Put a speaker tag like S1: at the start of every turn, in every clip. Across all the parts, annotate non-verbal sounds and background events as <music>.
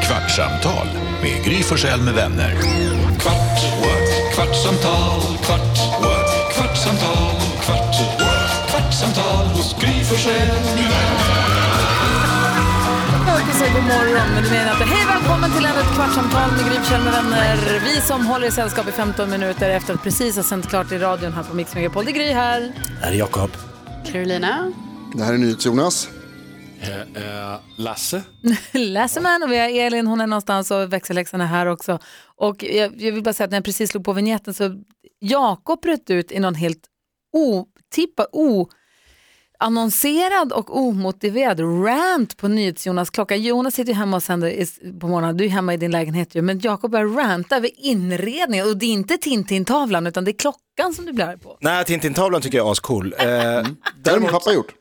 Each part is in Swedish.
S1: Kvartsamtal med Gry Forssell med vänner.
S2: Kvart, what? kvartsamtal, kvart, what? kvartsamtal, kvart, what? kvartsamtal hos Gry Forssell med vänner.
S3: Jag skulle säga god morgon, men du menar inte. Hej, välkommen till ännu ett kvartsamtal med Gry Forssell med vänner. Vi som håller i sällskap i 15 minuter efter att precis ha sänt klart i radion här på Mix Megapol. Det är Gry här.
S4: Här är Jakob.
S3: Carolina.
S5: Det här är NyhetsJonas.
S2: Eh,
S4: Lasse.
S3: <laughs> Läserman och vi har Elin, hon är någonstans och växelläxan är här också. Och jag, jag vill bara säga att när jag precis slog på vignetten så Jakob bröt ut i någon helt otippa, o annonserad och omotiverad rant på NyhetsJonas klocka. Jonas sitter ju hemma och sänder i- på morgonen, du är hemma i din lägenhet ju, men Jakob börjar ranta över inredningen och det är inte Tintin-tavlan utan det är klockan som du blir arg på.
S4: Nej, Tintin-tavlan tycker jag är ascool. Eh,
S5: Det har min pappa gjort.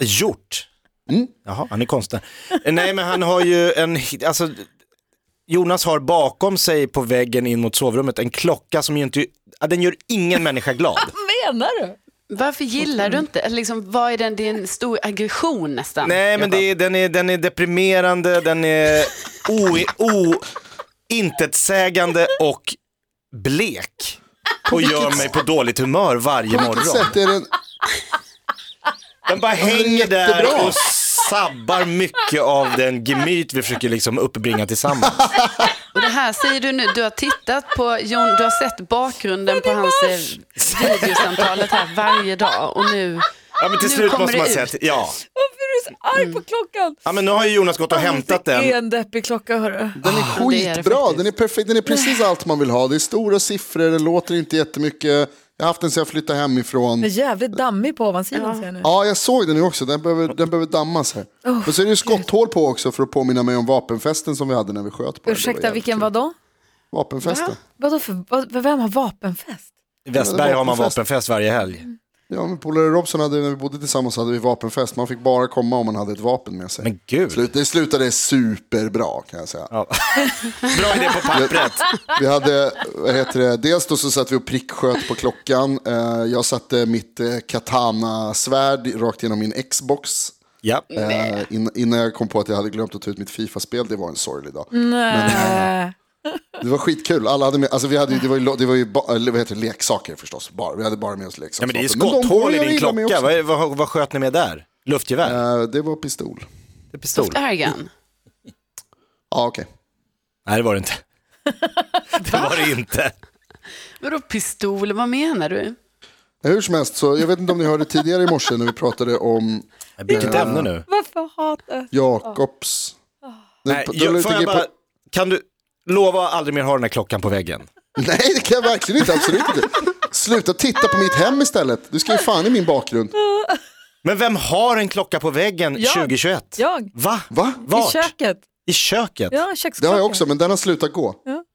S4: Gjort. Jaha, han är konstnär. Eh, Nej, men han har ju en, hi- alltså, Jonas har bakom sig på väggen in mot sovrummet en klocka som ju inte, ja, den gör ingen människa glad.
S3: Vad menar du?
S6: Varför gillar du inte, liksom, vad är den, det är en stor aggression nästan.
S4: Nej, men det är, den, är, den är deprimerande, den är o, o, intetsägande och blek. Och gör mig på dåligt humör varje
S5: På vilket
S4: morgon.
S5: sätt är det...
S4: Den bara hänger
S5: jättebra.
S4: där och sabbar mycket av den gemyt vi försöker liksom uppbringa tillsammans.
S6: Och det här säger du nu, du har tittat på Jon, du har sett bakgrunden på hans eh, videosamtalet här varje dag och nu,
S4: Ja, men till
S6: Nu
S4: slut
S6: kommer
S4: måste
S6: det
S4: man
S6: ut.
S4: säga att, ja.
S3: Varför är du så arg på klockan?
S4: ja, men nu Mm. har ju Jonas gått och hämtat
S3: Det är
S4: den.
S3: en deppig klocka hörru.
S5: Den är
S6: Ja, det är det
S5: skitbra,
S6: faktiskt.
S5: den är perfekt, den är precis allt man vill ha. Det är stora siffror, det låter inte jättemycket. Jag har haft den sedan jag flyttade hemifrån.
S3: Den är jävligt dammig på ovansidan ser jag nu.
S5: Ja, jag såg den nu också, den behöver, den behöver dammas här. Och så är det ju skotthål på också för att påminna mig om vapenfesten som vi hade när vi sköt på den. Det var
S3: Ursäkta,
S5: jävligt
S3: vilken
S5: kul.
S3: var då?
S5: Vapenfesten.
S3: Vadå för, vad, för vem har vapenfest?
S4: I Västberg har man vapenfest varje helg.
S5: Ja, men polare Robson hade, när vi bodde tillsammans hade vi vapenfest. Man fick bara komma om man hade ett vapen med sig.
S4: Men gud.
S5: Slut- Det slutade superbra kan jag säga.
S4: Ja. Bra idé på pappret.
S5: Vi hade, vad heter det, dels då så satt vi och pricksköt på klockan. Eh, Jag satte mitt eh, katana-svärd rakt genom min Xbox.
S4: Ja.
S5: eh, inn- Innan jag kom på att jag hade glömt att ta ut mitt Fifa-spel, det var en sorglig dag.
S3: Nej.
S5: Det var skitkul, alla hade med, alltså vi hade, ju- det var ju, lo- det var ju ba, eller vad heter det, leksaker förstås, bara. vi hade bara med oss
S4: Ja,
S5: leksaker.
S4: men det är ju
S5: de
S4: skotthål i
S5: började
S4: din
S5: illa mig
S4: klocka.
S5: också.
S4: Vad, vad, vad sköt ni med där? Luftgevär?
S5: Eh, Det var pistol.
S4: Det är Pistol?
S6: Ergan.
S5: Ja, okej.
S4: Nej, det var
S5: <laughs>
S4: det inte. Det var det inte.
S6: Vadå pistol, vad menar du?
S5: Hur som helst, så jag vet inte om ni hörde tidigare i morse när vi pratade om
S4: Vilket ämne nu?
S3: <laughs> Varför hatar
S5: Jakobs...
S4: Nej,
S5: Du- du la
S4: jag,
S5: ut
S4: får
S5: en
S4: jag
S5: grej på-
S4: bara, kan du lova att aldrig mer ha den här klockan på väggen?
S5: Nej, det kan jag verkligen inte. Absolut inte. Sluta titta på mitt hem istället. Du ska ju fan i min bakgrund.
S4: Men vem har en klocka på väggen
S3: Jag.
S4: 2021?
S3: jag?
S4: Va?
S5: Va?
S4: Vart?
S3: I köket.
S4: I köket?
S3: Ja,
S5: Det
S3: köksklockan.
S5: har jag också, men den har slutat gå.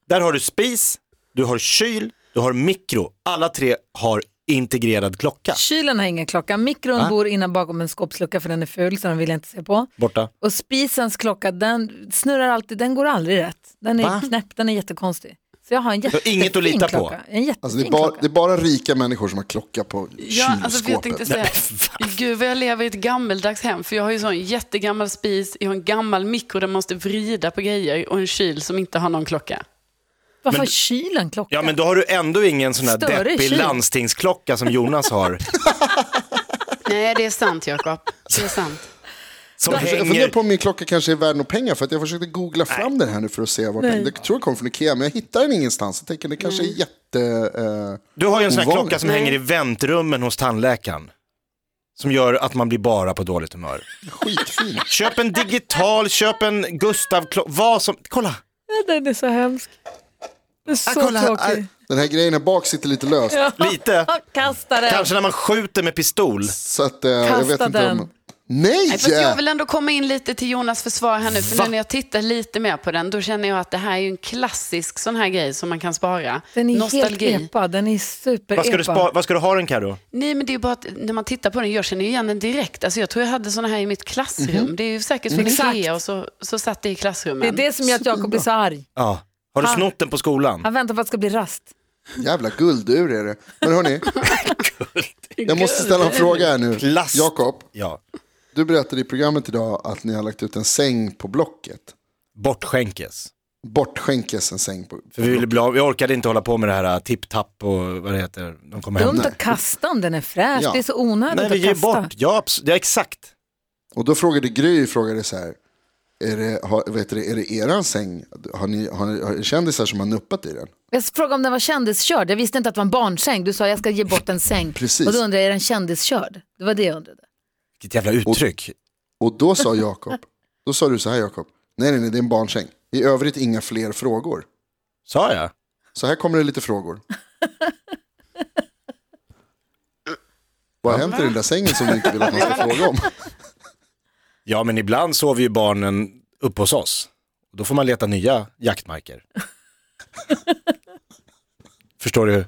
S4: Där har du spis, du har kyl, du har mikro. Alla tre har integrerad klocka.
S3: Kylen har ingen klocka. Mikron
S4: Va?
S3: bor innan bakom en skåpslucka för den är ful så den vill jag inte se på.
S4: Borta.
S3: Och spisens klocka den snurrar alltid, den går aldrig rätt. Den är
S4: Va?
S3: knäpp, den är jättekonstig. Så jag har en jättefin
S4: inget att lita på.
S3: klocka. En jättefin
S5: Alltså, det, är bara,
S3: klocka.
S5: det är bara rika människor som har klocka på
S6: Ja, alltså, för jag tänkte
S5: kylskåpet.
S6: säga, gud vad jag lever i ett gammeldags hem, för jag har ju sån jättegammal spis, jag har en gammal mikro där man måste vrida på grejer och en kyl som inte har någon klocka.
S3: Varför har kylen klocka?
S4: Ja, men då har du ändå ingen sån där
S3: Större
S4: deppig
S3: kyl.
S4: landstingsklocka som
S3: <laughs>
S4: Jonas har.
S6: Nej, det är sant Jakob, det är sant.
S4: Som
S5: Jag funderar
S4: hänger...
S5: på om min klocka kanske är värd några pengar för att jag försökte googla fram den här nu för att se vart den... Jag tror den kom från Ikea, men jag hittar den ingenstans. Jag tänker det kanske är jätte... Eh,
S4: Du har ju en sån här
S5: ovanligt.
S4: klocka som hänger i väntrummen hos tandläkaren. Som gör att man blir bara på dåligt humör.
S5: skitfin.
S4: Köp en digital, köp en Gustav-klocka, vad som... Kolla!
S3: Den är så hemsk. Den är så
S4: kolla,
S3: tråkig.
S4: aj.
S5: Den här grejen här bak sitter lite löst.
S3: <laughs>
S4: Lite.
S3: Kasta den.
S4: Kanske när man skjuter med pistol.
S5: Så att, eh, jag
S3: Kasta
S5: vet inte
S3: den.
S5: om... Nej!
S6: Nej, fast jag vill ändå komma in lite till Jonas försvar här nu, för
S4: Va?
S6: nu när jag tittar lite mer på den, då känner jag att det här är ju en klassisk sån här grej som man kan spara.
S3: Den är
S6: Nostalgi.
S3: helt epa, den är super
S4: Vad ska, du
S3: epa.
S4: spa... vad ska du ha den Karo?
S6: Nej, men det är ju bara att när man tittar på den, jag känner ju igen den direkt. Alltså, jag tror jag hade såna här i mitt klassrum.
S4: Mhm.
S6: Det är ju säkert
S4: Mm.
S6: från
S3: Exakt.
S6: Ikea och så, så satt det i
S3: Det är
S6: klassrummen.
S3: det som gör att Jakob blir så arg.
S4: Ja. Har du
S3: Han-
S4: snott den på skolan?
S3: Han väntar på att det ska bli rast.
S5: Jävla guldur är det. Men hörni, jag måste ställa en fråga här nu.
S4: Plast.
S5: Jakob.
S4: Ja.
S5: Du berättade i programmet idag att ni har lagt ut en säng på Blocket.
S4: bortskänkes.
S5: Bortskänkes en säng. På.
S4: För vi, ville bli av, vi orkade inte hålla på med det här äh, tipp-tapp och vad det heter. De kommer hem.
S3: Dumt att kasta om den är fräsch,
S5: Ja.
S3: det är så onödigt
S4: Nej, vi
S3: att
S4: ger
S3: kasta.
S4: bort. Ja, abs- ja, exakt.
S5: Och då frågade Gry, frågade så här, är det, har, vet du, är det eran säng? Har ni, har, ni- har ni kändisar som har nuppat i den?
S3: Jag frågade om den var kändiskörd, jag visste inte att det var en barnsäng. Du sa jag ska ge bort en
S4: <laughs>
S3: säng.
S5: Precis.
S3: Och då undrade jag, är den kändiskörd? Det var det jag undrade.
S4: Vilket jävla uttryck.
S5: Och då sa Jakob, då sa du så här Jakob, nej nej nej det är en barnsäng. I övrigt inga fler frågor.
S4: Sa jag?
S5: Så här kommer det lite frågor. Vad har hänt i den där sängen som du inte vill att man ska fråga om?
S4: Ja, men ibland sover ju barnen uppe hos oss. Då får man leta nya
S3: <laughs>
S4: jaktmarker. Förstår du?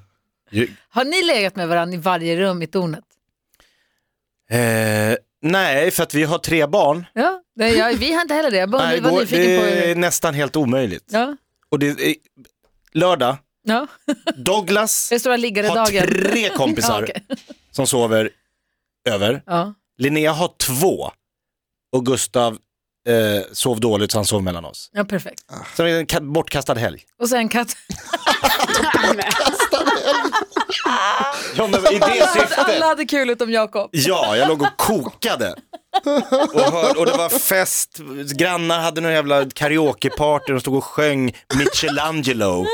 S4: Ju-
S3: Har ni legat med varandra i varje rum i tornet?
S4: Eh, nej, för att vi har tre barn.
S3: Ja, nej, jag, vi har inte heller det. Jag bara
S4: Nej,
S3: undrade, var
S4: går-
S3: nyfiken på
S4: det är
S3: hur...
S4: nästan helt omöjligt.
S3: Ja,
S4: Och det är, lördag,
S3: ja.
S4: Douglas
S3: Det är stora liggare
S4: har
S3: dagen.
S4: tre kompisar
S3: <laughs> Ja, okej.
S4: som sover över.
S3: ja.
S4: Linnea har två och Gustav eh, sov dåligt så han sov mellan oss.
S3: ja, perfekt.
S4: Så det är en ka- bortkastad helg.
S3: Och sen katt.
S6: <laughs>
S4: Ja, men i det
S3: <laughs>
S4: syftet.
S3: Alla hade kul utom Jakob.
S4: Ja, jag låg och kokade. Och, hör, och det var fest, grannar hade någon jävla karaokeparty, de stod och sjöng Michelangelo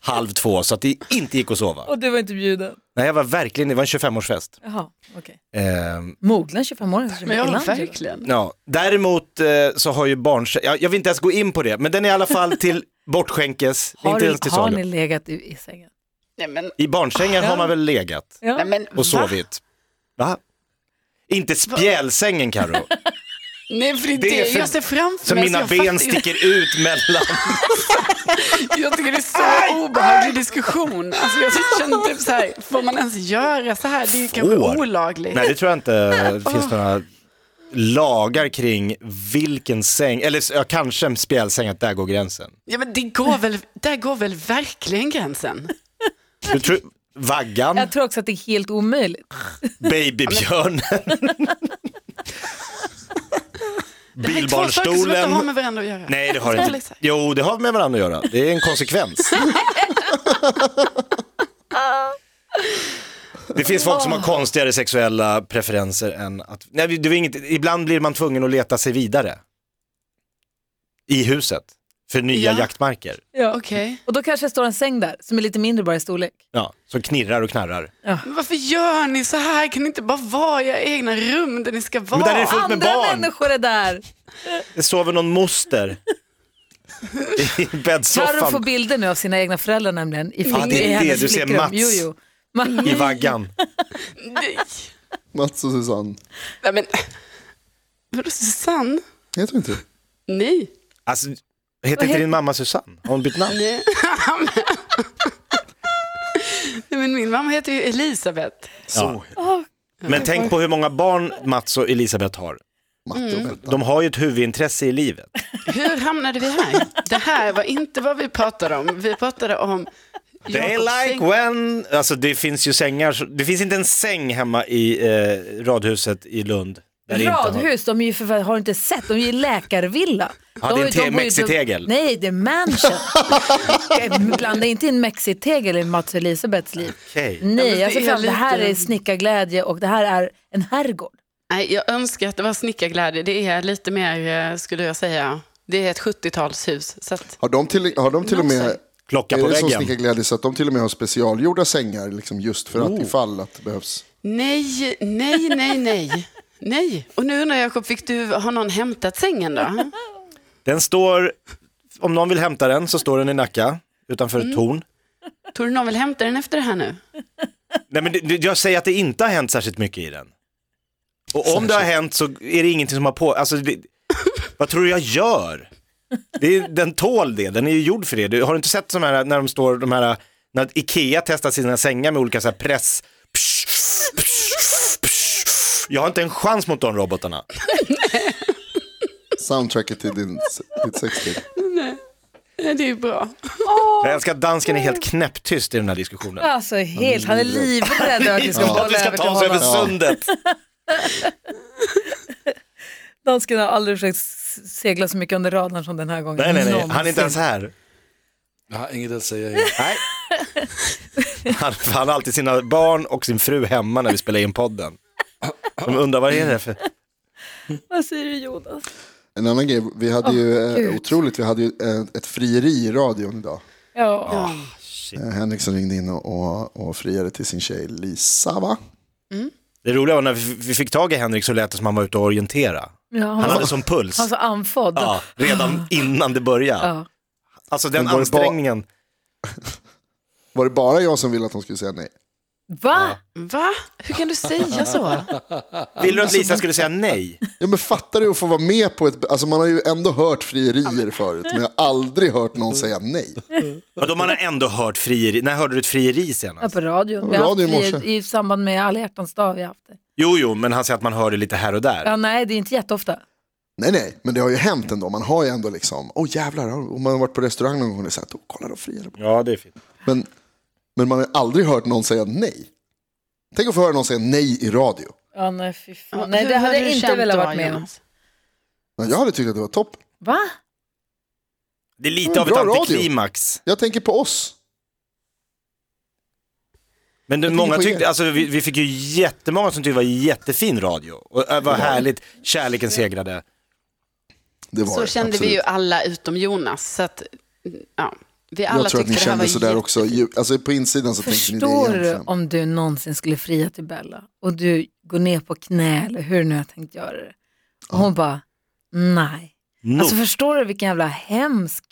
S4: halv två, så att det inte gick att sova.
S3: Och du var inte bjuden.
S4: Nej, jag var verkligen, det var en 25-årsfest.
S3: Jaha, okej.
S4: Ehm,
S3: Mogna 25 år. kanske
S6: Men ja,
S3: Irland,
S6: verkligen.
S4: Ja, däremot eh, så har ju barn, jag, jag vill inte ens gå in på det, men den är i alla fall till bortskänkes, Det är
S3: Har,
S4: inte ens till
S3: du, har ni
S4: salu.
S3: legat i, i sängen?
S6: Nej, men,
S4: I barnsängar har man väl legat
S3: Ja.
S6: nej, men,
S4: och
S6: va?
S4: sovit? Va? Inte spjälsängen Karo,
S6: Nej, för det,
S4: Det är för-
S6: jag ser framför
S4: så
S6: mig.
S4: mina
S6: alltså, jag
S4: ben
S6: fattar-
S4: sticker ut mellan.
S6: Jag tycker det
S4: <laughs>
S6: är så obehaglig diskussion. Alltså jag känner typ så här, får man ens göra så här? Det är ju kanske
S4: Får?
S6: olagligt.
S4: Nej, det tror jag inte det finns några lagar kring vilken säng, eller ja, kanske en spjälsäng, att där går gränsen.
S6: Ja, men det går väl, där går väl verkligen gränsen?
S4: Du tror, vaggan,
S3: Jag tror också att det är helt omöjligt.
S4: babybjörnen,
S6: <laughs> Det här är två saker som inte har
S4: <laughs> bilbarnstolen.
S6: med varandra att göra.
S4: Nej, det har det inte. Jo, det har med varandra att göra. Det är en
S6: <laughs>
S4: konsekvens. Det finns folk som har konstigare sexuella preferenser än att... Nej, det är inget... Ibland blir man tvungen att leta sig vidare. I huset. För nya
S6: Ja.
S4: jaktmarker.
S3: Ja.
S6: Okej.
S3: Och då kanske det står en säng där som är lite mindre bara i storlek.
S4: Ja, som knirrar och knarrar.
S6: Men varför gör ni så här? Kan ni inte bara vara i era egna rum där ni ska vara?
S4: där är det fullt- med
S3: Andra
S4: barn.
S3: människor är där.
S4: Det sover någon
S6: <laughs>
S4: moster i
S3: Carro får
S4: bäddsoffan
S3: bilder nu av sina egna föräldrar nämligen. I,
S4: Ja,
S3: flick-
S4: det är
S3: i
S4: det.
S3: hennes
S4: Du ser
S3: flickrum.
S4: Mats.
S3: Jo, jo. Ma-
S4: i vaggan.
S6: Nej.
S5: Mats och Susanne.
S6: Nej, men... Vadå Susanne?
S5: Jag tror inte det.
S6: Nej.
S4: Alltså, heter inte din mamma Susanne? Har hon bytt namn?
S6: Nej. Nej, men min mamma heter ju Elisabeth.
S4: Ja. Men tänk på hur många barn Mats och Elisabeth har.
S5: Matte och Bella.
S4: De har ju ett huvudintresse i livet.
S6: Hur hamnade vi här? Det här var inte vad vi pratade om. Vi pratade om
S4: They
S6: Jakobs
S4: like
S6: säng.
S4: when... Alltså det finns ju sängar, så- det finns inte en säng hemma i eh, radhuset i Lund. Där det inte har-
S3: Radhus, de är ju för, har du inte sett, de är ju läkarvilla.
S4: Ja,
S3: de,
S4: det är en
S3: har ju-
S4: te-
S3: bor ju-
S4: mexitegel.
S3: Nej, det är
S4: <laughs>
S3: mansion. Blanda inte in mexitegel i Mats och Elisabeths liv.
S4: Okej.
S6: Ja, men
S3: Nej,
S6: det
S3: alltså,
S6: är
S3: fan, det här
S6: lite-
S3: är snickarglädje och det här är en herrgård.
S6: Nej, jag önskar att det var snickarglädje. Det är lite mer, eh, skulle jag säga, det är ett 70-talshus. Så att,
S5: Har de till, har de till och med,
S4: Klocka på
S5: är det som
S4: väggen.
S5: snickarglädje så att de till och med har specialgjorda sängar liksom just för att ifall att det behövs?
S6: nej, nej, nej, nej. Nej. Och nu undrar jag, Jakob, fick du, har någon hämtat sängen då?
S4: Den står, om någon vill hämta den så står den i Nacka utanför ett torn.
S6: Tror du någon vill hämta den efter det här nu?
S4: Nej men det- det, jag säger att det inte har hänt särskilt mycket i den. Och om det har hänt så är det ingenting som har på, alltså det, vad tror du jag gör? Det är, den tål det, den är ju gjord för det. Du, har du inte sett de här när de står, de här, när Ikea testar sina sängar med olika så här press, psh, psh, psh. jag har inte en chans mot de robotarna.
S5: Soundtracket till din, ditt sexliv.
S6: Nej, det är ju bra.
S4: Jag älskar att dansken är helt knäpptyst i den här diskussionen.
S3: Alltså helt, han är livrädd att vi ska
S4: Att vi
S3: bolla
S4: ska
S3: över till
S4: ta oss över
S3: honom.
S4: sundet.
S3: Dansken har aldrig försökt segla så mycket under radarn som den här gången.
S4: Nej, nej, nej, han är
S3: Någonsin.
S4: inte ens här.
S2: Jag har inget att säga.
S4: Nej. Han, han har alltid sina barn och sin fru hemma när vi spelar in podden. De undrar vad det är det för...
S3: Vad säger du Jonas?
S5: En annan grej, vi hade ju, eh,
S3: Gud.
S5: otroligt, vi hade ju eh, ett frieri i radion idag.
S3: Ja.
S5: Eh, Henriksson ringde in och, och, och friade till sin tjej Lisa, va?
S4: Det roliga var när vi vi fick tag i Henrik så lät det som han var ute och orientera.
S3: Ja, han,
S4: Han
S3: var,
S4: hade sån puls.
S3: han var så andfådd.
S4: Ja, redan innan det började.
S3: Ja.
S4: Alltså den
S5: Men var det ba-
S4: ansträngningen.
S5: Var det bara jag som ville att hon skulle säga nej?
S3: Va?
S6: Va? Hur kan du säga så?
S4: Vill du att Lisa skulle säga nej?
S5: Ja, men fattar du att få vara med på ett... Alltså man har ju ändå hört frierier förut, men jag har aldrig hört någon säga nej.
S4: Vadå, man har ändå hört frieri. När hörde du ett frieri
S3: Ja,
S4: senast?
S3: på radion.
S5: På
S3: Vi har
S5: radio i
S3: haft
S5: morse.
S3: I, I samband med alla hjärtans dag har vi haft det.
S4: Jo, jo, men han säger att man hör det lite här och där.
S3: Ja, nej, det är inte jätteofta.
S5: Nej, nej, men det har ju hänt ändå. Man har ju ändå liksom, åh oh, jävlar, om man har varit på restaurang någon gång och sagt, åh kolla de friar.
S4: Ja, det är fint.
S5: Men, men man har ju aldrig hört någon säga nej. Tänk att få höra någon säga nej i radio.
S3: Ja, nej, fy
S6: Ja,
S3: fan. Nej,
S6: hur
S3: det hade
S6: hade du
S3: jag inte
S6: känt
S3: velat
S6: då,
S3: varit med om.
S6: Jonas?
S5: Men jag hade tyckt att det var topp.
S3: Va?
S4: Det är lite
S5: Mm,
S4: av ett
S5: bra radio.
S4: antiklimax.
S5: Jag tänker på oss.
S4: Men det,
S5: tänker
S4: många
S5: på
S4: tyckte,
S5: er.
S4: alltså, vi, vi fick ju jättemånga som tyckte det var jättefin radio. Och äh, vad härligt, kärleken segrade.
S3: Alltså,
S5: Det var
S6: Så
S5: det,
S6: kände
S5: absolut.
S6: vi ju alla utom Jonas. Så att, ja, vi alla
S5: jag tror att ni
S6: tyckte det här
S5: kände
S6: var
S5: sådär
S6: jätte-
S5: också. Ju- Alltså på insidan så tänkte ni det
S3: Förstår du
S5: egentligen.
S3: om du någonsin skulle fria till Bella och du går ner på knä eller hur nu har jag tänkt göra det? Och hon bara, nej.
S4: No.
S3: Alltså förstår du vilken jävla hemsk,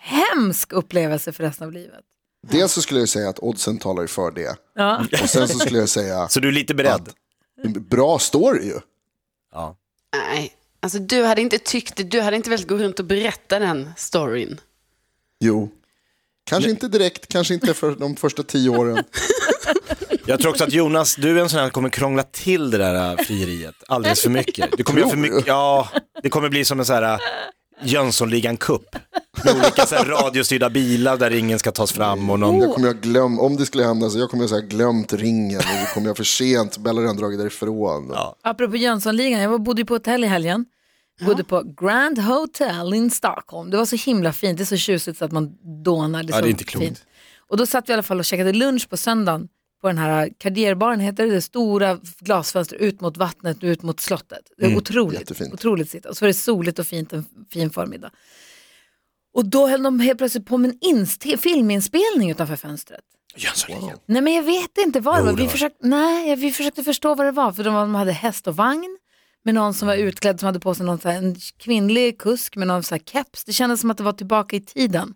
S3: hemsk upplevelse för resten av livet?
S5: Dels så skulle jag ju säga att oddsen talar ju för det.
S3: Ja.
S5: Och sen så skulle jag
S6: <laughs>
S5: säga,
S4: så du är lite beredd?
S5: bra story ju.
S4: Ja.
S6: Nej, alltså du hade inte tyckt det. Du hade inte velat gå runt och berätta den storyn.
S5: Jo. Kanske inte direkt, kanske inte för de första tio åren.
S4: Jag tror också att Jonas, du är en sån här som kommer krångla till det där äh, frieriet alldeles för mycket. Du kommer göra för
S5: Tror du?
S4: mycket, ja, det kommer bli som en sån här äh, Jönssonligan Cup. Med olika så här, radiostyrda bilar där ringen ska tas fram och någon...
S3: Oh,
S5: Jag kommer jag glöm, om det skulle hända så jag kommer jag säga glömt ringen. Och då kommer jag för sent, Bella har redan dragit därifrån.
S4: Ja.
S3: Apropå Jönssonligan, jag var- bodde ju på hotell i helgen. Bodde på Grand Hotel in Stockholm. Det var så himla fint, det är så tjusigt så att man dånar. Det är,
S4: Ja,
S3: så
S4: det är inte klokt.
S3: Fint. Och då satt vi i alla fall och käkade lunch på söndagen på den här Cardierbaren, heter det, det stora glasfönster ut mot vattnet, ut mot slottet. Det är
S4: Mm,
S3: otroligt,
S5: jättefint.
S3: otroligt sitt. Och så var det soligt och fint en fin förmiddag. Och då höll de helt plötsligt på med en inst- filminspelning utanför fönstret.
S4: Jönssonligan.
S3: Nej men jag vet inte vad det
S4: Jo,
S3: var.
S4: det
S3: Vi
S4: var-
S3: försökte, nej, vi försökte förstå vad det var. För de var- de hade häst och vagn med någon som var utklädd som hade på sig någon så här, en kvinnlig kusk med någon så här keps. Det kändes som att det var tillbaka i tiden.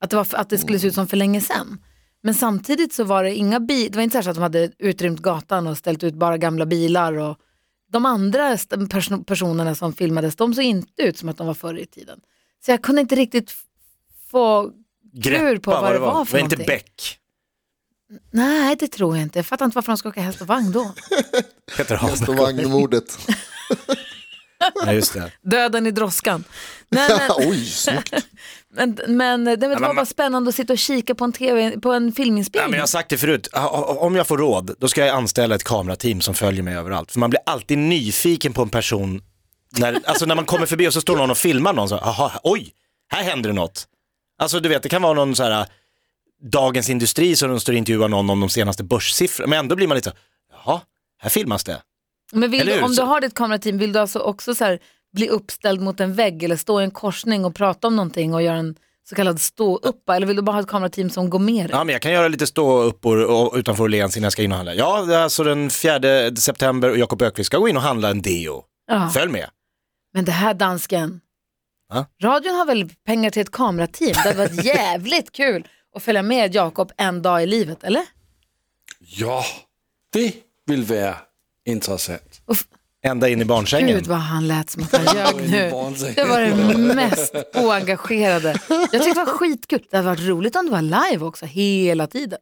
S3: Att det, var, att det skulle se ut som för länge sedan. Men samtidigt så var det inga bilar, det var inte så här så att de hade utrymt gatan och ställt ut bara gamla bilar. Och de andra st- perso- personerna som filmades, de såg inte ut som att de var förr i tiden. Så jag kunde inte riktigt f- få klur på vad det var för
S4: Men inte
S3: någonting.
S4: Beck.
S3: Nej, det tror jag inte. Jag fattar inte varför de ska åka häst och vagn då.
S4: Peter
S5: Häst och
S4: Haber.
S5: vagnmordet.
S4: Ja, just det.
S3: <laughs> Döden i droskan. Nej, men, eh,
S5: <laughs> Oj, snyggt.
S3: men, men, nej, men det var
S4: men-
S3: bara spännande att sitta och kika på en, TV, på en
S4: Ja, men
S3: filminspelning.
S4: jag har sagt det förut, O- o- om jag får råd, då ska jag anställa ett kamerateam som följer mig överallt. För man blir alltid nyfiken på en person, när, alltså när man kommer förbi och så står någon och filmar någon så, här, aha, oj, här händer det något. Alltså du vet, det kan vara någon så här, äh, Dagens Industri som de står och intervjuar någon om de senaste börssiffrorna, men ändå blir man lite så, jaha, här filmas det.
S3: men vill
S4: eller
S3: du,
S4: hur?
S3: om du
S4: Så-
S3: har ditt kamerateam, vill du alltså också så här, bli uppställd mot en vägg eller stå i en korsning och prata om någonting och göra en så kallad stå-uppa? Eller vill du bara ha ett kamerateam som går med dig?
S4: Ja, men jag kan göra lite stå upp och, och, utanför Åhléns innan jag ska in och handla. Ja, det är alltså den 4 september och Jakob Ökvist ska gå in och handla en deo.
S3: Ja.
S4: Följ med.
S3: Men det här dansken.
S4: Va?
S3: Radion har väl pengar till ett kamerateam? Det hade
S4: <laughs>
S3: varit jävligt kul att följa med Jakob en dag i livet, eller?
S2: Ja, det vill vara intressant.
S3: Och f-
S4: Ända in i barnsängen.
S3: Gud vad han lät som att han
S4: <laughs>
S3: ljög nu.
S2: vansinnigt.
S3: Det var det mest oengagerade. Jag tyckte det var skitkul. Det hade varit roligt om det var live också hela tiden.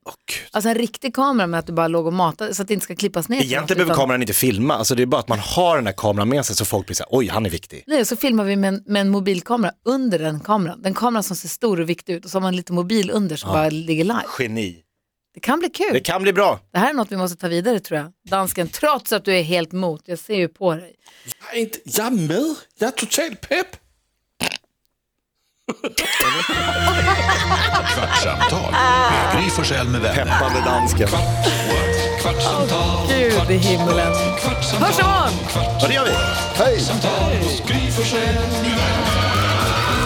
S3: alltså en riktig kamera med att du bara låg och matade så att det inte ska klippas ner.
S4: Egentligen behöver
S3: Utan-
S4: kameran inte filma, alltså det är bara att man har den här kameran med sig så folk blir så här, oj han är viktig.
S3: Nej, så filmar vi med en, med en mobilkamera under den kameran. Den kameran som ser stor och viktig ut och så har man lite mobil under som bara ligger live.
S4: Geni.
S3: Det kan bli kul.
S4: Det kan bli bra.
S3: Det här är något vi måste ta vidare tror jag. Dansken, trots att du är helt mot. Jag ser ju på dig.
S7: Jag är, inte, jag är med. Jag är totalt pepp.
S1: Kvartsamtal med Gry Forssell med vänner.
S4: Peppande dansken.
S2: Kvartsamtal,
S3: Gud i himlen. Hörs
S2: kvartsamtal,
S3: imorgon!
S4: Ja, det gör vi.
S5: Hej!
S2: kvartsamtal hos Gry Forssell med vänner.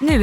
S8: Nu